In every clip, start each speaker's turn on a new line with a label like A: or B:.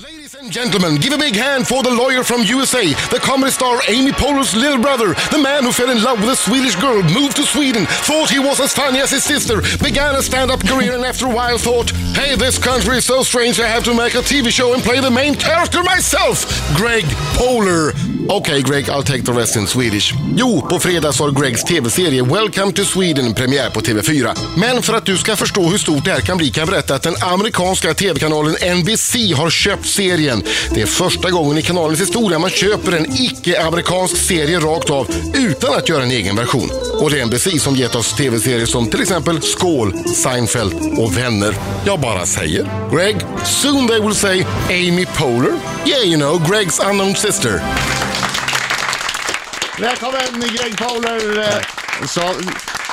A: Ladies and gentlemen, give a big hand for the lawyer from USA, the comedy star Amy Poehler's little brother, the man who fell in love with a Swedish girl, moved to Sweden, thought he was as funny as his sister, began a stand-up career and after a while thought, hey, this country is so strange I have to make a TV show and play the main character myself, Greg Poehler. Okej Greg, I'll take the rest in Swedish. Jo, på fredags har Gregs TV-serie Welcome to Sweden premiär på TV4. Men för att du ska förstå hur stort det här kan bli kan jag berätta att den amerikanska TV-kanalen NBC har köpt serien. Det är första gången i kanalens historia man köper en icke-amerikansk serie rakt av utan att göra en egen version. Och det är NBC som gett oss TV-serier som till exempel Skål, Seinfeld och Vänner. Jag bara säger. Greg, soon they will say Amy Poehler. Yeah, you know, Gregs unknown sister.
B: Välkommen Greg Fowler. eh, Så,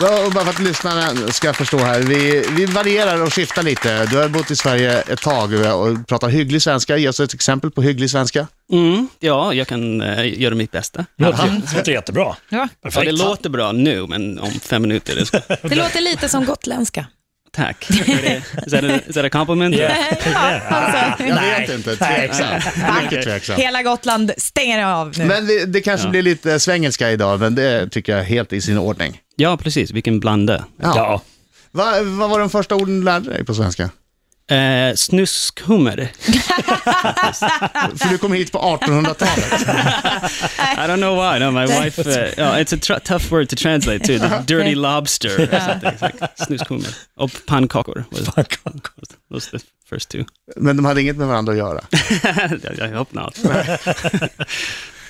B: ja, och bara för att lyssnarna ska förstå här, vi, vi varierar och skiftar lite. Du har bott i Sverige ett tag och och pratar hygglig svenska. Ge oss ett exempel på hygglig svenska.
C: Mm, ja, jag kan eh, göra mitt bästa. Ja,
D: Det låter jättebra.
E: Ja.
D: Perfekt.
C: det låter bra nu, men om fem minuter. Det ska,
E: Det låter lite som gotländska.
C: tack. Är det- Is that a, is that a compliment?
D: Yeah.
E: ja, alltså,
B: Jag
D: Nej.
B: vet inte,
D: Nej.
B: tveksam. Mycket tveksam.
E: hela Gotland stänger av nu.
B: Men det, det kanske blir lite svengelska idag, men det tycker jag är helt i sin ordning.
C: ja precis. Vilken blanda.
D: Ja.
B: Va, vad var de första orden du lärde dig på svenska?
C: Eh, snuskhummer.
B: För du kom hit på 1800-talet.
C: I don't know why. No, my wife. Uh, oh, it's a tr- tough word to translate too. The dirty lobster or something. It's like snuskhummer. Oh, pannkakor was, was, was the first two.
B: Men de hade inget med varandra att göra.
C: I hope not.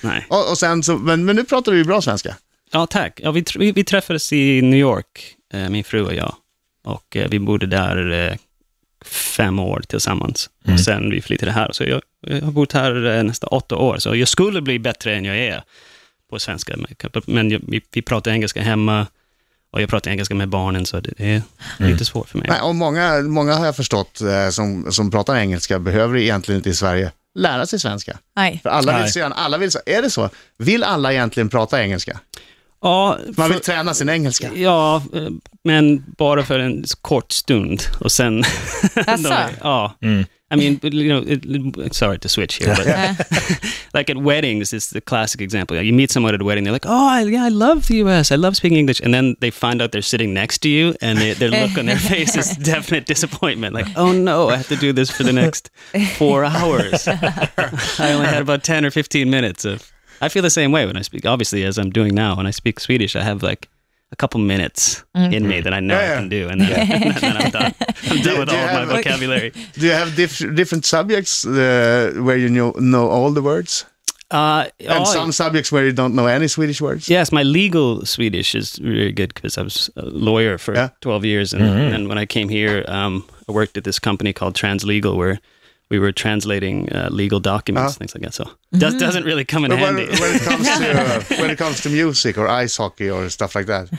C: Nej.
B: Och, och sen så, men, men nu pratar du ju bra svenska.
C: Ja, tack. Ja, vi, tr- vi, vi träffades i New York, eh, min fru och jag. Och eh, vi bodde där eh, fem år tillsammans. Och sen vi flyttade här. Så jag, jag har bott här eh, nästan åtta år. Så jag skulle bli bättre än jag är på svenska. Men jag- Men jag, vi, vi pratar engelska hemma och jag pratar engelska med barnen, så det är lite svårt för mig.
B: Nej, och många, många har jag förstått eh, som, som pratar engelska behöver egentligen inte i Sverige lära sig svenska.
E: Nej.
B: För alla
D: Nej.
B: vill, så gärna, alla vill så, är det så? Vill alla egentligen prata engelska?
C: Ja,
B: Man
C: för-
B: vill träna sin engelska.
C: Ja, eh, men bara för en kort stund och sen...
E: Asså?
C: De- ja. I mean, you know, it, sorry to switch here, but like at weddings is the classic example. You meet someone at a wedding, they're like, oh, I, yeah, I love the U.S., I love speaking English, and then they find out they're sitting next to you, and they, their look on their face is definite disappointment. Like, oh no, I have to do this for the next four hours. I only had about 10 or 15 minutes of. I feel the same way when I speak, obviously, as I'm doing now. When I speak Swedish, I have like a couple minutes in me that I know
B: Mm-hmm. Yeah, yeah.
C: I can do, and then, and then I'm done. I'm done with
B: do
C: all
B: you
C: of my
B: have, like-
C: vocabulary.
B: Do you have diff- different subjects eh, where you know, know all the words?
C: Uh,
B: And
C: oh,
B: some subjects where you don't know any Swedish words?
C: Yes, my legal Swedish is really good because I was a lawyer for
B: Yeah.
C: 12 years. And, and when I came here, um, I worked at this company called Translegal, where we were translating uh, legal documents, things like that. So does, doesn't really come in
B: Uh-huh. Mm-hmm. But when,
C: handy.
B: when, it comes to, when it comes to music or ice hockey or stuff like that.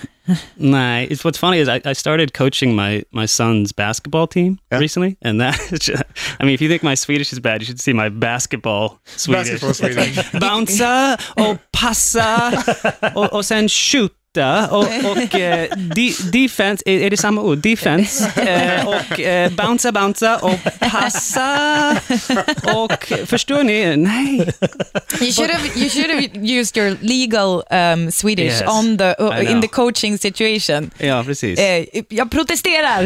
C: Nah, it's what's funny is I, I started coaching my my son's basketball team
B: Yeah.
C: recently, and that is just, I mean, if you think my Swedish is bad, you should see my basketball Swedish.
B: Basketball Swedish.
C: Bounca och passa och, och sen skjuta och, och eh, de, defense, är, är det samma ord? Defense eh, och eh, bounca, bounca och passa och förstår ni? Nej.
E: You should have you should have used your legal um, Swedish
C: Yes.
E: on the uh,
C: I know.
E: in the coaching situation.
C: Ja, precis.
E: Eh, jag protesterar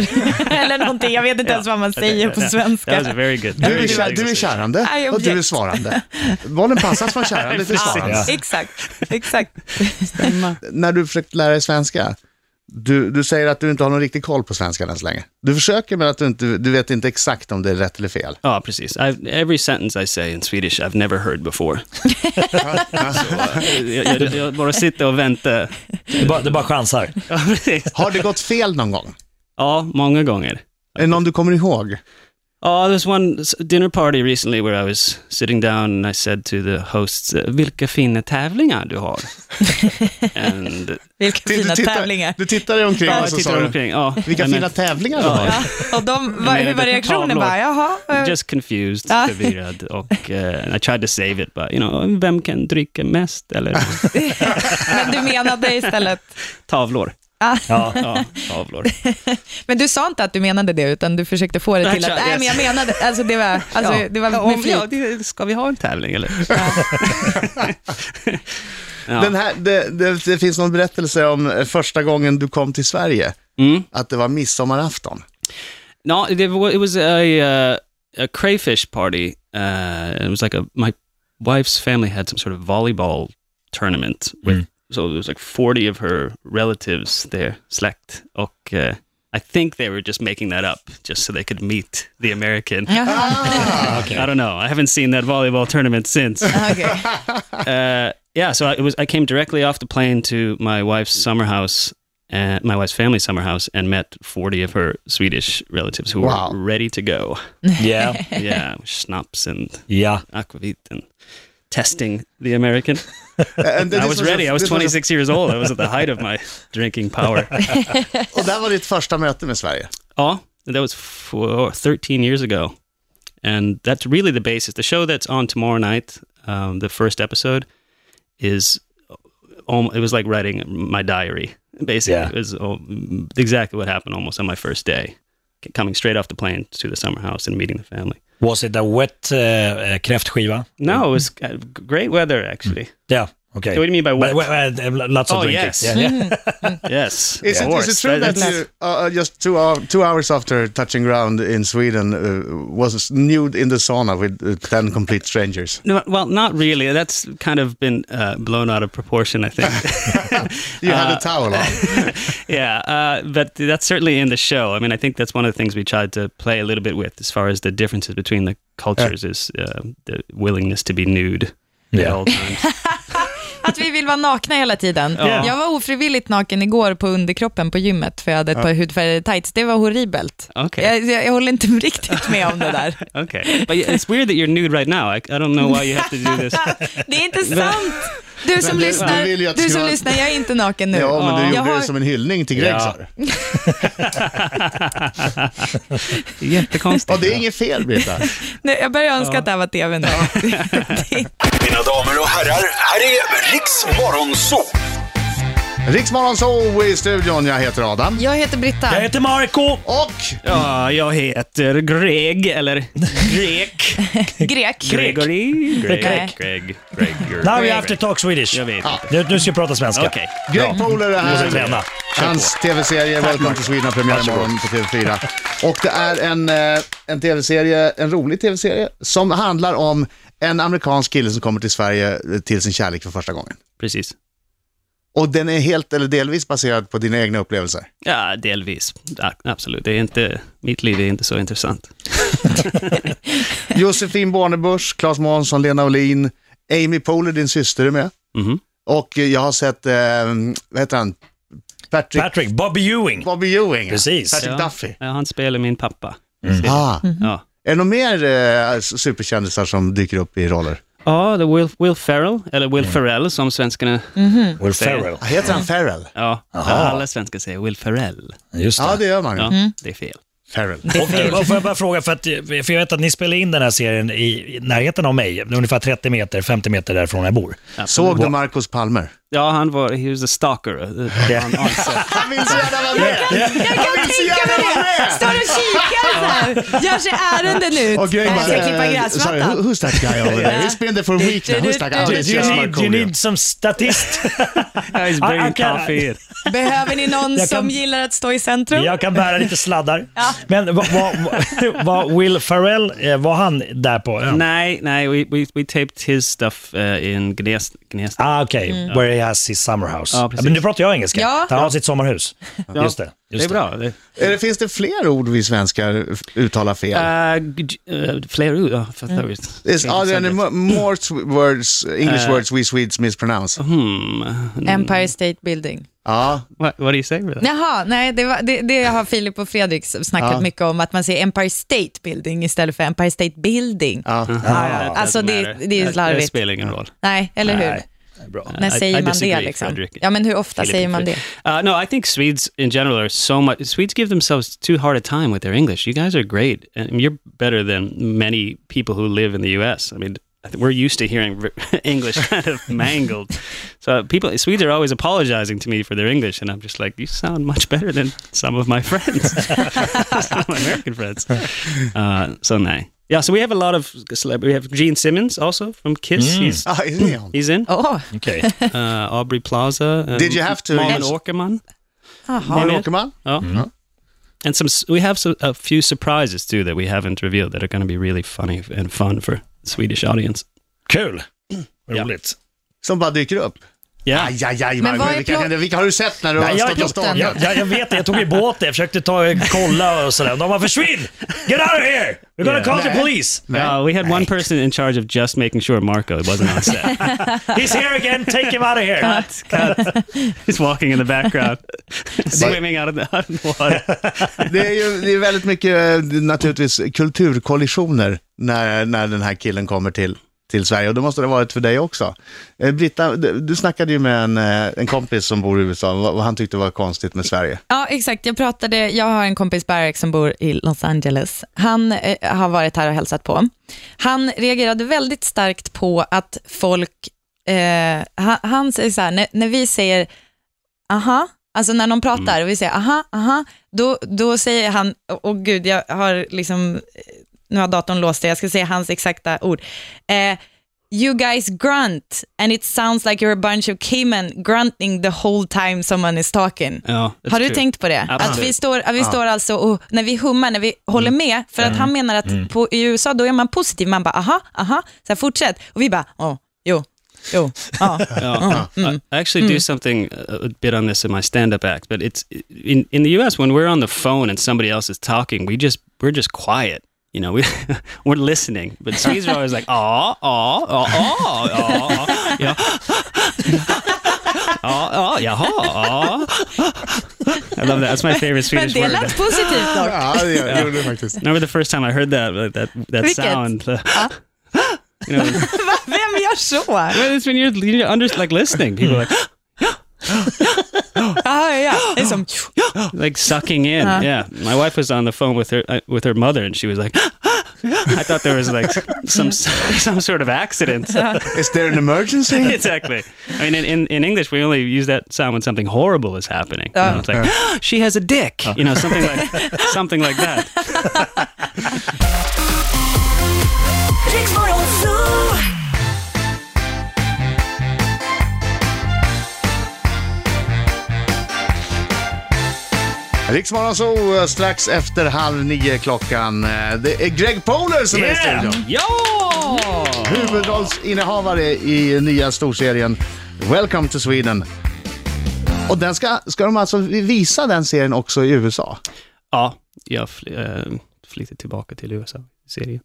E: eller någonting. Jag vet inte ens vad man säger på
C: That was
E: svenska.
C: very good.
B: Du
C: Very
B: är,
C: good
B: kär, du är
C: exercise.
B: kärande
E: I
B: och du är
E: object.
B: svarande. Bollen passas från kärande till svarande.
E: Ja,
D: Ja.
E: exakt, exakt.
B: när du försökt lära dig svenska, du, du säger att du inte har någon riktig koll på svenskan än så länge. Du försöker men att du, inte, du vet inte exakt om det är rätt eller fel.
C: Ja, precis. I've, every sentence I say in Swedish I've never heard before. Så, eh, jag, jag, jag bara sitter och väntar.
D: Det, bara, det bara chansar.
C: Ja, precis.
B: Har det gått fel någon gång?
C: Ja, många gånger.
B: Är det någon du kommer ihåg?
C: Oh, there was one s- dinner party recently where I was sitting down and I said to the hosts, eh, vilka fina tävlingar du har. And,
E: Vilka
B: Du-
E: fina
B: du tittar,
E: tävlingar.
B: Du tittar dig omkring
C: ja,
B: och
C: jag
B: så
C: tittar
B: sa du,
C: omkring. Ja,
B: vilka
C: jag
B: fina
C: men-
B: tävlingar du
C: Ja.
B: har.
E: Och de, vad- hur var reaktionen? Bara, jaha, eh,
C: Just confused,
E: Ja.
C: förvirrad och eh, I tried to save it, but you know, vem kan dricka mest? Eller
E: men du menade istället
C: tavlor.
E: Ah.
D: Ja.
C: Ja, tavlor.
E: Men du sa inte att du menade det, utan du försökte få det till
C: That's
E: att,
C: right,
E: nej men jag
C: yes.
E: menade, alltså det var, alltså,
C: ja.
E: det var
C: ja,
E: med
C: om, ja,
E: flit.
C: det, ska vi ha en tävling eller? ja.
B: Den här, det, det, det finns någon berättelse om eh, första gången du kom till Sverige.
C: Mm.
B: Att det var midsommarafton. Äh,
C: No, it wa- it was a uh, a crayfish party. Uh, it was like a my wife's family had some sort of volleyball tournament with so there was like forty of her relatives there, släkt, och uh, I think they were just making that up just so they could meet the American.
E: Oh.
C: I don't know. I haven't seen that volleyball tournament since.
E: Okej.
C: uh, yeah, so I, it was. I came directly off the plane to my wife's summer house, uh, my wife's family summer house, and met forty of her Swedish relatives who
B: Wow.
C: were ready to go.
D: Ja.
C: Yeah, schnapps and
D: Ja.
C: aquavit and testing the American.
B: And
C: I was ready. I was 26 years old. I was at the height of my drinking power.
B: Och där var ditt första möte med Sverige.
C: Oh, that was four, 13 years ago. And that's really the basis. The show that's on tomorrow night, um, the first episode, is al- it was like writing my diary. Basically,
D: Yeah.
C: it was al- exactly what happened almost on my first day, c- coming straight off the plane to the summer house and meeting the family.
D: Was it a wet eh, eh, kräftskiva?
C: No, it was uh, great weather actually.
D: Ja, okej.
C: What do you mean by
D: But,
C: wet?
D: well, uh, Lots of
C: Oh,
D: drinking.
C: yes.
D: Yeah, yeah.
B: Is,
C: yes, of
B: it, is it
C: course.
B: true that,
C: that's-
B: you, uh, just two, hou- two hours after touching ground in Sweden uh, was nude in the sauna with uh, 10 complete strangers?
C: No, well, not really. That's kind of been uh, blown out of proportion, I think.
B: You had a towel on.
C: yeah, uh, but that's certainly in the show. I mean, I think that's one of the things we tried to play a little bit with, as far as the differences between the cultures is uh, the willingness to be nude at
D: Yeah.
C: all times.
E: Att vi vill vara nakna hela tiden.
C: Ja.
E: Jag var ofrivilligt naken igår på underkroppen på gymmet för jag hade ett par hudfärgade tights. Det var horribelt.
C: Okej.
E: Jag, jag, jag håller inte riktigt med om det där.
C: Okay, but yeah, it's weird that you're nude right now. I, I don't know why you have to do this.
E: Det är inte sant! Du som
B: Men du-
E: lyssnar,
B: du vill ju
E: du,
B: att det ska
E: som
B: vara-
E: lyssnar, jag är inte naken nu.
B: Ja, men du
E: jag
B: gjorde
E: har,
B: det som en hyllning till Greg
D: Ja.
B: sa du. Ja,
C: Jättekonstigt.
B: det är inget fel, Britta.
E: nej, jag börjar önska att det här var tv nu.
F: Mina damer och herrar, här är Riks Morgonzoo!
B: Riksmorgon så i studion, jag heter Adam.
E: Jag heter Britta.
D: Jag heter Marco.
B: Och
C: Ja, jag heter Greg, eller Grek.
E: Grek.
C: Gregory. Greg.
E: Nej.
C: Greg. Greg. Greg.
D: Now we have to talk Swedish.
C: Jag vet inte.
D: Nu, nu ska vi prata svenska.
C: Okej.
B: Greg Poler är
D: Måste
B: här.
D: träna.
B: Hans tv-serie Welcome to Sweden har premiär imorgon på TV4. Och det är en, eh, en tv-serie, en rolig tv-serie, som handlar om en amerikansk kille som kommer till Sverige eh, till sin kärlek för första gången.
C: Precis.
B: Och den är helt eller delvis baserad på dina egna upplevelser.
C: Ja, delvis. Ja, absolut. Det är inte, mitt liv är inte så intressant.
B: Josefin Bornebusch, Claes Månsson, Lena Olin, Amy Poehler, din syster är med.
C: Mhm.
B: Och eh, jag har sett, eh, vad heter han, Patrick,
D: Patrick, Bobby Ewing.
B: Bobby Ewing.
D: Precis. Mm.
B: Patrick
C: Ja.
B: Duffy.
C: Ja, han spelar min pappa.
B: Ah.
C: Ja.
B: Är det några mer eh, superkändisar som dyker upp i roller?
C: Ja, det är Will, Will Ferrell, eller Will Ferrell som svenskarna...
D: Will
C: Mm. Säger.
D: Ferrell.
B: Heter han Farrell?
C: Ja, alla svenskar säger Will Ferrell.
D: Just
B: Ja,
D: det.
B: det gör man.
C: Ja,
B: Ja.
C: det är fel.
B: Farrell.
D: Och, och får jag bara fråga, för, att, eh, för jag vet att ni spelade in den här serien i i närheten av mig, ungefär 30 meter, 50 meter därifrån jag bor.
B: Såg du Marcus Palmer?
C: Ja, han var... He was a stalker.
D: Ja.
C: On, on set.
B: Han vill så gärna vara med!
E: Jag kan tänka mig det! Står och kikar så här. Gör sig ärenden ut.
B: Och Greg
E: jag ska klippa
B: bara, eh, sorry, who-
E: gräsmattan.
B: who's that guy over there? He's been there for a week now. Who's that guy? Oh,
D: You,
B: it's just
D: you, need, you
B: Markoolio.
D: need some statist.
C: He's
D: I-
C: bringing
D: I can-
C: coffee.
E: Behöver ni någon
D: Jag kan-
E: som gillar att stå i centrum?
D: Jag kan bära lite sladdar. Men vad vad- vad- vad Will Ferrell, eh, var han där på ön?
C: Nej, nej, we, we, we taped his stuff uh, in Gnest... Gnest.
D: Ah, Okej, where he has his summer house.
C: Ja, precis.
D: Men nu pratar jag engelska.
E: Mm. Ja.
D: Han har sitt sommarhus. Just det.
C: det är
D: Just
C: bra. Det,
B: Är det, finns det fler ord vi svenskar f- uttalar fel?
C: Eh, g- eh, fler ord? Ja, fattar vi.
B: Is, are there any mo- more sw- words, English
E: Eh.
B: words we Swedes mispronounce?
E: Mm-hmm.
C: Hmm.
E: Empire State Building.
B: Ja,
C: What, what do you say with that?
E: Jaha, nej, det, var, det, det har Filip och Fredrik snackat
B: Ja.
E: mycket om, att man säger Empire State Building istället för Empire State Building. Ja, ja. Alltså det,
C: matter.
E: det är
C: Det
E: slarvigt.
C: spelar ingen roll.
E: Nej, eller hur?
D: Nej, det är bra.
E: När
C: I-
E: säger
C: I
E: man det
C: disagree,
E: liksom?
C: Fredrik.
E: Ja, men hur ofta säger man det?
C: Uh, no, I think Swedes in general are so much. Swedes give themselves too hard a time with their English. You guys are great, and you're better than many people who live in the U.S. I mean, I think we're used to hearing r- English kind of mangled. So uh, people, Swedes are always apologizing to me for their English, and I'm just like, you sound much better than some of my friends, some of my American friends. Uh, so nej. Yeah, so we have a lot of celebrities. We have Gene Simmons also from Kiss.
E: Mm.
C: He's,
B: Ah, isn't he on?
C: he's in.
E: Åh,
D: Okej.
C: Uh, Aubrey Plaza. Uh,
B: Did you have to-
C: Malin
B: Yes.
C: Åkerman.
B: Malin Åkerman?
C: Oh. And some, s- we have so, a few surprises too that we haven't revealed that are going to be really funny and fun for Swedish audience.
D: Kul! Roligt.
B: Som bara dyker upp.
C: Yeah.
B: Aj, aj, aj,
E: Men
B: men
E: vad är
B: vilka,
E: plo-
B: händer? vilka har du sett när du
D: Nej,
B: har
D: jag,
B: stått och
E: plotten?
D: jag,
B: stångat?
D: jag, jag vet det, jag tog ju båt det. Jag försökte ta, kolla och sådär. De bara försvinn! Get out of here! We're gonna call the police!
C: Uh, we had one person in charge of just making sure Marco wasn't on set.
D: He's here again, take him out of here!
C: He's walking in the background, swimming out of the, out of the water.
B: Det är ju det är väldigt mycket eh, naturligtvis kulturkollisioner när, när den här killen kommer till, till Sverige och det måste det ha varit för dig också. Eh, Britta, du, du snackade ju med en, eh, en kompis som bor i USA och vad- vad han tyckte var konstigt med Sverige.
E: Ja, exakt. Jag pratade, jag har en kompis, Barek, som bor i Los Angeles. Han eh, har varit här och hälsat på. Han reagerade väldigt starkt på att folk, eh, han, han säger så här, när, när vi säger aha, alltså när någon pratar och vi säger aha, aha, då, då säger han, åh gud, jag har liksom, eh, nu har datorn låst det, jag ska säga hans exakta ord. Eh, You guys grunt and it sounds like you're a bunch of cavemen grunting the whole time someone is talking.
C: Ja, that's
E: Har du
C: true.
E: tänkt på det?
C: Absolut. Mm.
E: Att vi står, att vi står alltså och när vi hummar, när vi håller med, för att han menar att på, i USA då är man positiv, man bara aha, aha, så här, fortsätt. Och vi bara, åh, jo, jo, ja.
C: Yeah. I I actually do something a a bit on this in my stand-up act, but it's in in the U.S. when we're on the phone and somebody else is talking, we just we're just quiet. You know, we we're listening, but Swedes are always like ah ah ah ah ah yeah ah ah yeah ah. I love that. That's my favorite
E: Men
C: Swedish
E: det
C: word.
E: lät positivt dock.
B: Ja, det gjorde du faktiskt.
C: I remember the first time I heard that like, that that
E: Vilket?
C: sound. the- you know,
E: Va? Vem gör så?
C: but it's when you're you're under like listening, people are like
E: Ja, ja, det är som,
C: like sucking in. Yeah, my wife was on the phone with her uh, with her mother, and she was like, "I thought there was like some some sort of accident."
B: Is there an emergency?
C: exactly. I mean, in, in, in English, we only use that sound when something horrible is happening. You know, it's like she has a dick. You know, something like something like that.
G: Riksmorgon Zoo.
B: Riksmorgon så eh, strax efter halv nio klockan. Eh, Det är Greg Poler som är i
D: Yeah!
B: studion.
C: Yo.
B: Huvudrollsinnehavare i nya storserien Welcome to Sweden. Och den ska, ska de alltså visa den serien också i USA?
C: Ja, jag fly, eh, flyttade tillbaka till USA i serien.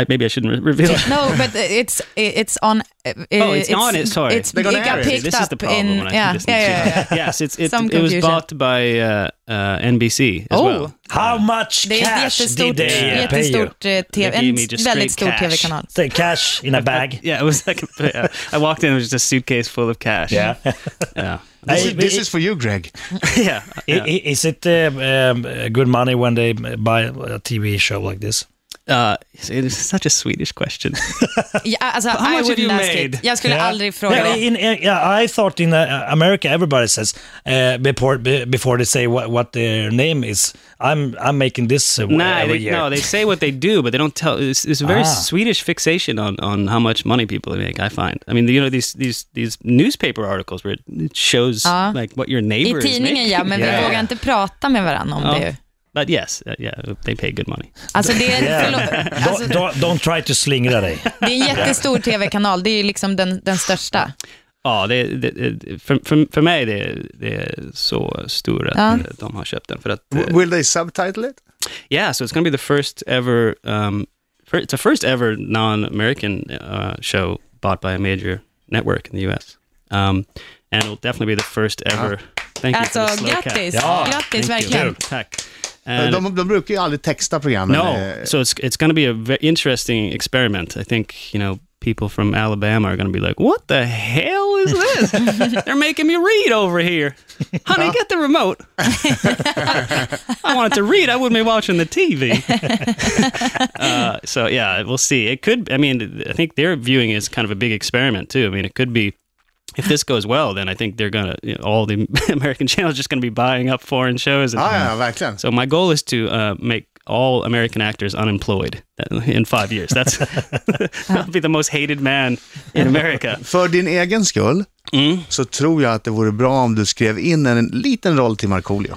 C: I, maybe I shouldn't re- reveal.
E: no, but it's, it's on... eh,
C: Oh, it's, on it. Sorry,
E: It's, it
B: gonna air
E: got
B: it.
E: picked
C: This is the
E: up
C: problem.
E: in...
C: when I
E: yeah,
C: listen
E: yeah,
C: to
E: yeah,
C: it.
E: yeah.
C: yes, it's it,
E: Some
C: it was
E: confusion.
C: bought by uh, uh, NBC as
E: Oh.
C: well.
D: How much
E: Det är ett
D: cash did
E: jättestort,
D: they uh, pay you?
E: jättestort eh, TV,
C: They gave
E: en
C: me just straight
E: väldigt stor
C: cash.
E: tv-kanal.
D: The cash in a bag.
C: Yeah, it was like yeah. I walked in, it was just a suitcase full of cash.
D: Yeah.
C: yeah,
B: This,
D: Hey,
B: is- this is for you Greg.
C: yeah.
D: I- i- Is it uh, um, good money when they buy a TV show like this?
C: Uh, it's, it's such a Swedish question.
E: Ja, alltså,
C: How
E: I
C: much have you
E: wouldn't ask
C: made?
E: it. Jag skulle aldrig fråga.
D: Yeah, in, in- yeah, I thought in uh, America everybody says uh, before be- before they say what, what their name is. I'm I'm making this uh,
C: nah,
D: every
C: they,
D: year.
C: no, they say what they do, but they don't tell. It's, it's a very
D: Ah.
C: Swedish fixation on, on how much money people make. I find. I mean, you know these these these newspaper articles where it shows
E: Ah.
C: like what your neighbor
E: I
C: is
E: tidningen
C: making. Oh.
E: ja, men
D: Yeah.
E: vi vågar inte prata med varandra om det. ju.
C: But yes, uh, yeah, they pay good money.
E: Alltså det, är, förlåt, alltså,
D: don't, don't, don't try to slingra dig.
E: det är en jättestor tv-kanal, det är ju liksom den, den största.
C: Ja, det, det, det, för, för, för mig det, det är så stor att
E: Ja.
C: eh, de har köpt den. För att, eh,
B: Will they subtitle it?
C: yeah, so it's going to be the first ever, um, fir- it's the first ever non-American uh, show bought by a major network in the US. Um, and it'll definitely be the first ever. Thank you for
E: Alltså
C: the slow clap.
E: grattis,
D: Ja,
E: grattis
C: Thank you.
E: verkligen.
C: Tack.
B: De,
C: And-
B: de, brukar ju aldrig texta programmen.
C: no,
B: eh,
C: so it's it's going to be a very interesting experiment. I think you know people from Alabama are going to be like, what the hell is this? They're making me read over here. Honey, get the remote. I wanted to read. I wouldn't be watching the TV. uh, so, yeah, we'll see. It could, I mean, I think their viewing is kind of a big experiment, too. I mean, it could be. If this goes well, then I think they're gonna you know, all the American channels just gonna be buying up foreign shows. And,
B: Ja, ja, verkligen.
C: so my goal is to uh, make all American actors unemployed uh, in five years. That's I'll be the most hated man in America.
B: För din egen skull så tror jag att det vore bra om du skrev in en liten roll till Markoolio.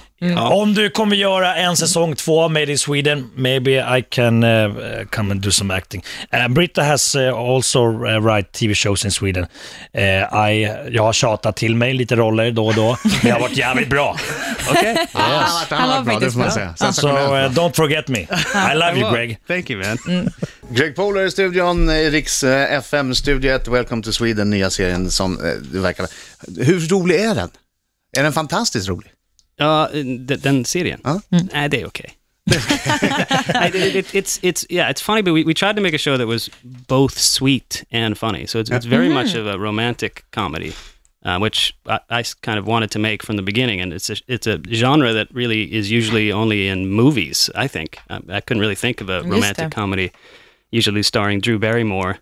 D: Om du kommer göra en säsong två av Made in Sweden, maybe I can uh, come and do some acting. Uh, Britta has uh, also uh, write TV shows in Sweden. Uh, I, jag har tjatat till mig lite roller då och då, men jag har varit jävligt bra.
C: Okay.
B: Yes.
E: Han var faktiskt bra.
D: So uh, don't forget me. I love you Greg.
C: Thank you, man.
B: Greg Poler i studion, eh, Riks eh, FM, Studio 1, Welcome to Sweden, nya serien som eh, det verkar... Hur rolig är den? Är den fantastiskt rolig?
C: Ja, d- den serien?
B: Ja.
C: Nej, det är okej. I- it- it- it's, it's, yeah, it's funny, but we, we tried to make a show that was both sweet and funny. So it's, it's very much of a romantic comedy, uh, which I, I s- kind of wanted to make from the beginning. And it's a, it's a genre that really is usually only in movies, I think. I, I couldn't really think of a romantic
E: det.
C: comedy usually starring Drew Barrymore.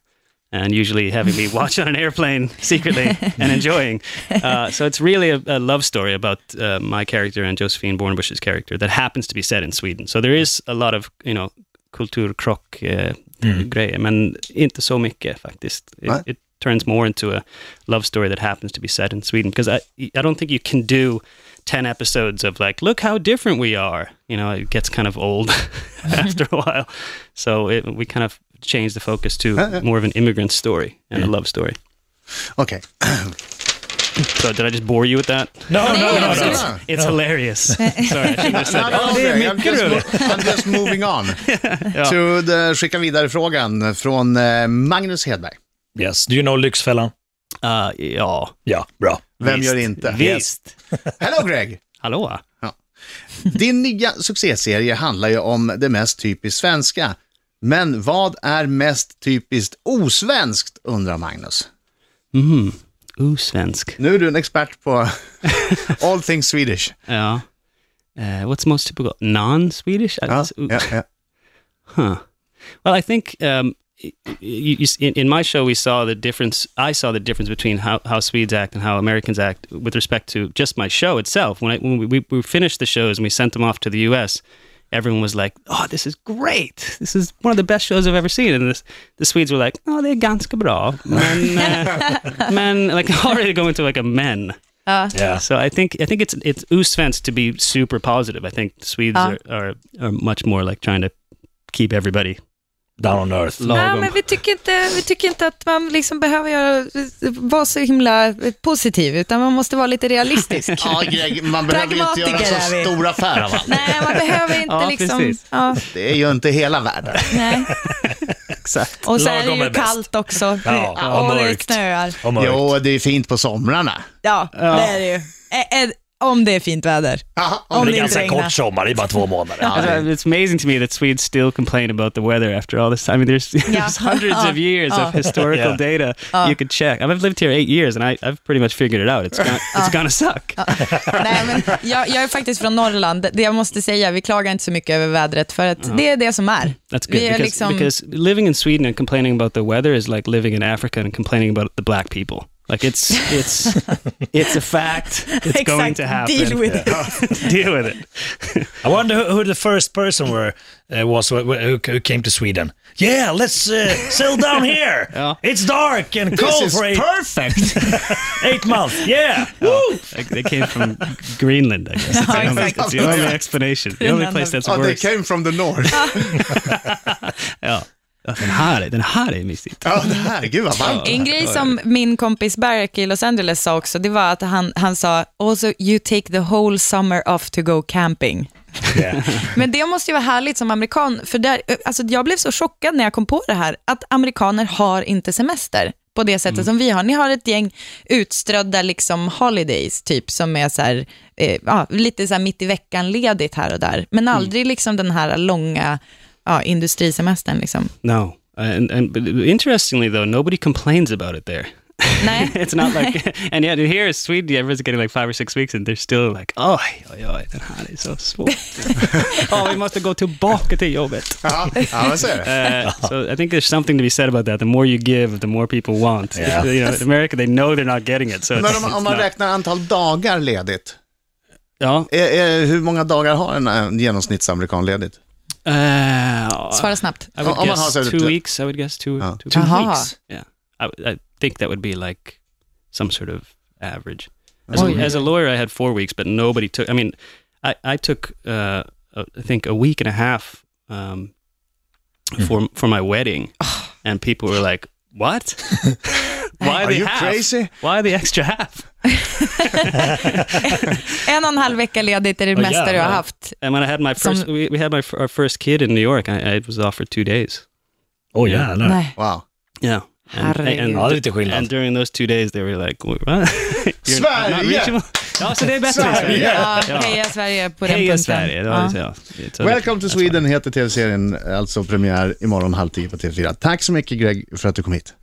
C: And usually having me watch on an airplane secretly and enjoying. Uh, so it's really a, a love story about uh, my character and Josephine Bornbusch's character that happens to be set in Sweden. So there is a lot of, you know, kulturkrock eh, grejer, men inte så mycket faktiskt. It,
B: Nej.
C: it turns more into a love story that happens to be set in Sweden. Because I, I don't think you can do 10 episodes of like, look how different we are. You know, it gets kind of old after a while. So it, we kind of changed the focus to more of an immigrant story and a love story.
B: Okej.
C: So did I just bore you with that?
D: No, no, no, no.
E: absolut.
B: Ah.
C: It's hilarious. Sorry, I shouldn't have said that.
B: det är mycket roligt. I'm just moving on. To the, skicka vidare frågan från eh, Magnus Hedberg.
D: Yes, do you know Lyxfällan?
C: Uh, ja.
D: Ja, bra.
B: Vem
C: Visst.
B: gör inte?
C: Visst.
B: Hello Greg!
C: Hallå.
B: Din nya succéserie handlar ju om det mest typiskt svenska. Men vad är mest typiskt osvenskt, undrar Magnus.
C: Mm. Osvensk.
B: Nu är du en expert på all things Swedish.
C: Ja. Uh, what's most typical? Non-Swedish? I-
B: Ja,
C: s-
B: ja, ja.
C: Huh. Well, I think um, y- y- you, s- in, in my show we saw the difference. I saw the difference between how, how Swedes act and how Americans act with respect to just my show itself. When, I, when we, we, we finished the shows and we sent them off to the U.S., everyone was like, "Oh, this is great! This is one of the best shows I've ever seen." And this, the Swedes were like, "Oh, they're ganska bra, men, uh, men like already go into like a men."
D: Yeah.
C: So I think I think it's it's usvensk to be super positive. I think Swedes are, are are much more like trying to keep everybody
D: Down on earth.
E: Ja, men vi, tycker inte, vi tycker inte att man liksom behöver göra, vara så himla positiv, utan man måste vara lite realistisk.
B: Ja, Greg, man behöver ju inte göra
E: Pragmatiker
B: så
E: är vi.
B: stor affär av allt.
E: Nej, man behöver inte
C: Ja,
E: liksom...
C: precis.
E: Ja,
B: Det är ju inte hela världen.
E: nej.
B: Exakt.
E: Och så är det
D: Lagom
E: ju
D: är bäst.
E: kallt också.
D: Ja,
E: och
D: och
E: det
D: mörkt.
E: snöar.
D: Och mörkt.
B: Jo, det är fint på somrarna.
E: Ja, det är det ju. Ä- ä- om det är fint väder.
B: Aha,
E: Om
D: det är
E: det inte
D: ganska
E: regnar.
D: kort sommar, det är bara två månader.
C: It's- uh, It's amazing to me that Swedes still complain about the weather after all this time. I mean, there's, there's hundreds of
E: Oh.
C: years of historical
D: Yeah.
C: data you could check. I mean, I've lived here eight years, and I, I've pretty much figured it out. It's gonna, it's
E: Oh.
C: gonna suck.
E: Nej, men jag, jag är faktiskt från Norrland. Det jag måste säga, vi klagar inte så mycket över vädret, för att det är det som är.
C: That's good
E: vi är
C: because,
E: liksom,
C: because living in Sweden and complaining about the weather is like living in Africa and complaining about the black people. Like it's it's it's a fact. It's going
E: exakt,
C: to happen.
E: deal with it.
C: Deal with it.
D: I wonder who, who the first person were uh, was who, who who came to Sweden. Yeah, let's uh, settle down here.
C: Ja.
D: It's dark and cold
B: is
D: for eight,
B: perfect!
D: eight months. Yeah,
C: Oh,
D: woo!
C: Like, they came from Greenland, I guess. That's, the, only,
E: exactly.
C: that's the only explanation. The only place that's
B: Oh, they
C: worse.
B: came from the north.
C: Ja. Ja, Den här, är- den här är mysigt.
B: Ja, det här, gud vad varmt.
E: En grej som min kompis Barrack i Los Angeles sa också, det var att han, han sa “Also, you take the whole summer off to go camping”. Men det måste ju vara härligt som amerikan, för där, alltså jag blev så chockad när jag kom på det här, att amerikaner har inte semester på det sättet som vi har. Ni har ett gäng utströdda liksom holidays, typ, som är så här, eh, ja, lite så här mitt i veckan ledigt här och där, men aldrig liksom den här långa ja, industrisemestern. Liksom.
C: No. And, and but interestingly, though, nobody complains about it there.
E: Nej.
C: it's not like, and yet here in Sweden, everyone's getting like five or six weeks, and they're still like, oj, oj, oj, den här är så svår. oh, vi måste gå tillbaka till jobbet.
B: Ja, ja vad säger du?
C: Uh, so I think there's something to be said about that. The more you give, the more people want. You know, in America, they know they're not getting it. So
B: Men
C: it's,
B: om,
C: it's
B: om man
C: not-
B: räknar antal dagar ledigt,
C: ja,
B: är, är, hur många dagar har en, en genomsnittsamerikan ledigt?
C: Uh,
E: Svara snabbt.
C: I would
B: Om man har
C: guess
B: så här
C: two
B: lite-
C: weeks. I would guess two,
B: Ja.
C: two,
E: Two Jaha. weeks?
C: Yeah, I, would- I think that would be like some sort of average. As,
E: Oh,
C: a,
E: yeah.
C: as a lawyer, I had four weeks, but nobody took. I mean, I I took uh, uh, I think a week and a half um, for for my wedding, and people were like, "What? Why
B: Are
C: the
B: you
C: half?
B: crazy?"
C: Why the extra half?"
E: En och en halv vecka ledigt är det
D: Åh,
E: mesta du har
C: jävlar.
E: haft.
C: And when I had my
E: Some-
C: first, we, we had my f- our first kid in New York. I, I was off for two days.
D: Åh oh, jävlar.
E: Nej.
B: Wow.
C: Yeah. And,
E: Herregud.
C: and,
D: Ja, det är lite skillnad.
C: And during those two days they were like, "What? You're not- not
B: Sverige!
C: reachable?" Ja, så det är bättre.
B: Sverige!
E: Ja,
C: Ja.
E: heja Sverige på den
C: Heja
E: punkten.
C: Sverige. Det var
E: Ja.
C: det, ja. Så det-
B: Welcome to Sweden heter tv-serien, alltså premiär imorgon halv tio på TV4. Tack så mycket Greg för att du kom hit.